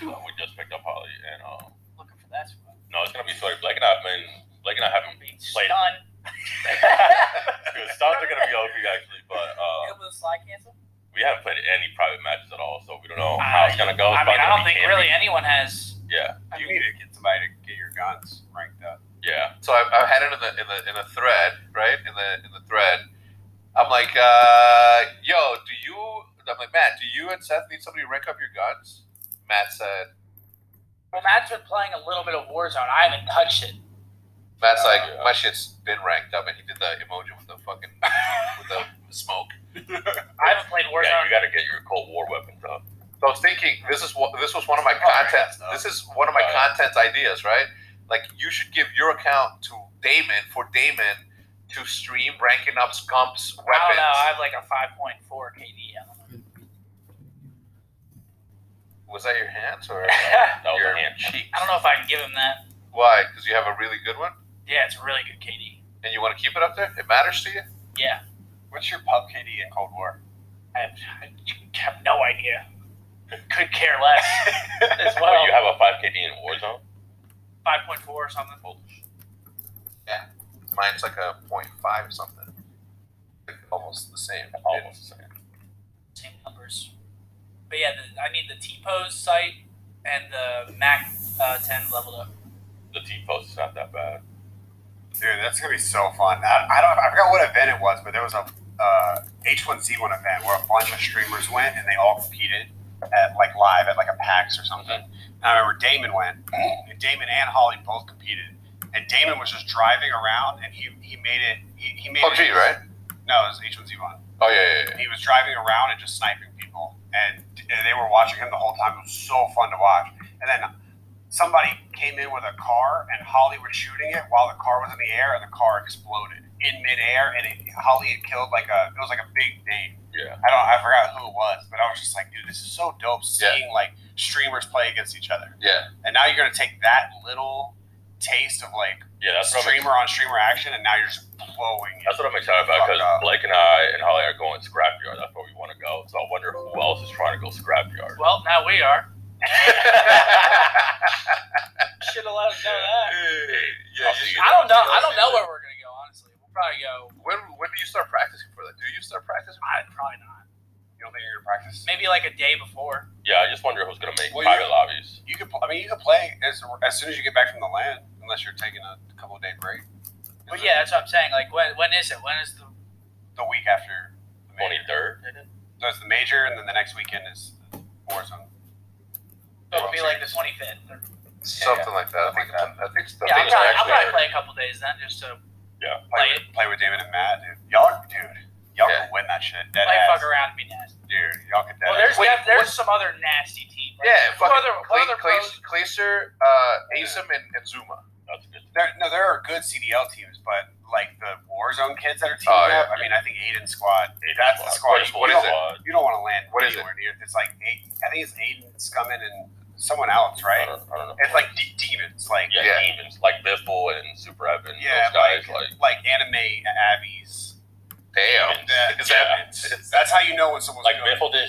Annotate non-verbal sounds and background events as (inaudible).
And we just picked up Holly, and um, Looking for that spot. no, it's gonna be sweaty. Blake and I've been, Blake and I haven't Being played. (laughs) stunned. Good stuff. They're gonna be OP actually, but uh, It was slide cancel. we haven't played any private matches at all, so we don't know Uh, how it's gonna go. It's I mean, probably I gonna don't be think hairy. really. Really, anyone has. Yeah, I You mean, need to get somebody to get your guns ranked up. yeah. So I, I had it in the in the in a thread, right? In the in the thread, I'm like, uh, yo, do you? I'm like, Matt, do you and Seth need somebody to rank up your guns? Matt said. well, Matt's been playing a little bit of Warzone. I haven't touched it. Matt's like, Yeah. my shit's been ranked up, and he did the emoji with the fucking with (laughs) the smoke. I haven't played Warzone. yeah, you gotta get your Cold War weapons up. So I was thinking, this is what this was one of my It's not very contents. nice, This is one of my Right. contents ideas, right? Like you should give your account to Damon for Damon to stream ranking up Scump's weapons. I don't know. I have like a 5.4 KD. I don't know. was that your hands (laughs) or That was your a hand cheek. I don't know if I can give him that. Why? Because you have a really good one, Yeah, it's a really good KD. and you want to keep it up there. It matters to you. Yeah, What's your pub KD in Cold War? I have, I have no idea. Could care less (laughs) as well. Wait, you have a 5 KD in Warzone? 5.4 or something. Mine's like a point five something, Like, almost the same. Almost the same. Same numbers. But yeah, the, I need the T pose site and the Mac uh, 10 leveled up. The T post is not that bad. Dude, that's gonna be so fun. I, I don't. I forgot what event it was, but there was a uh, H1Z1 event where a bunch of streamers went and they all competed at like live at like a PAX or something. And I remember Damon went. And Damon and Holly both competed, and Damon was just driving around and he he made it. He, he made PUBG, it, right? No, it was H1Z1. Oh yeah, yeah, yeah. He was driving around and just sniping people, and, and they were watching him the whole time. It was so fun to watch. And then somebody came in with a car, and Holly was shooting it while the car was in the air, and the car exploded in midair, and it, Holly had killed like a it was like a big name. Yeah. I don't I forgot who it was, but I was just like, dude, this is so dope Yeah. seeing like streamers play against each other. Yeah. And now you're gonna take that little taste of like Yeah, that's what, I'm, streamer on streamer action, and now you're just blowing it. that's what I'm excited about because Fuck up. Blake and I and Holly are going scrapyard. That's where we want to go. So I wonder who else is trying to go scrapyard. Well, now we are. Should have let us know that. Yeah, you should- I don't know. I don't know where we're gonna go. Honestly, we'll probably go. When when do you start practicing for that? Do you start practicing? I probably not. You don't think you're gonna practice? Maybe like a day before. Yeah, I just wonder who's going to make Well, private you- lobbies. You could. pl- I mean, you could play as as soon as you get back from the land, unless you're taking a couple of day break. But yeah, that's what I'm saying. Like, when when is it? When is the? the week after the major. 23rd? So it's the major, and then the next weekend is Warzone. So it'll be like the 25th. or- Something like that. I think. Something I think. Yeah, I'll probably, something I'll actually- probably play a couple days then, just to Play, Play with, play with David and Matt, dude. Y'all, dude, y'all Yeah. can win that shit. Dead play ass, fuck around and be nasty. dude. Y'all can dead Well, there's ass. Wait, def- there's what- some other nasty teams. Like, Yeah, who fucking other, who Clay, other Clay, pros? Clacer, uh, Asim, and, and Zuma. That's good. There, no, there are good CDL teams, but like the Warzone kids that are teaming Oh, yeah. up. I mean, I think Aiden squad. that's the squad. What is, you what is don't- it? You don't want to land What is anywhere near. It's like Aiden, I think it's Aiden Scummin and someone else, I right? Uh, don't, I don't know. It's like de- demons, like yeah, Yeah. demons like Biffle and Super Evan. Yeah, those guys like, like anime abbeys. Damn. Demons. That, Yeah. That's how you know when someone's Like good. Biffle did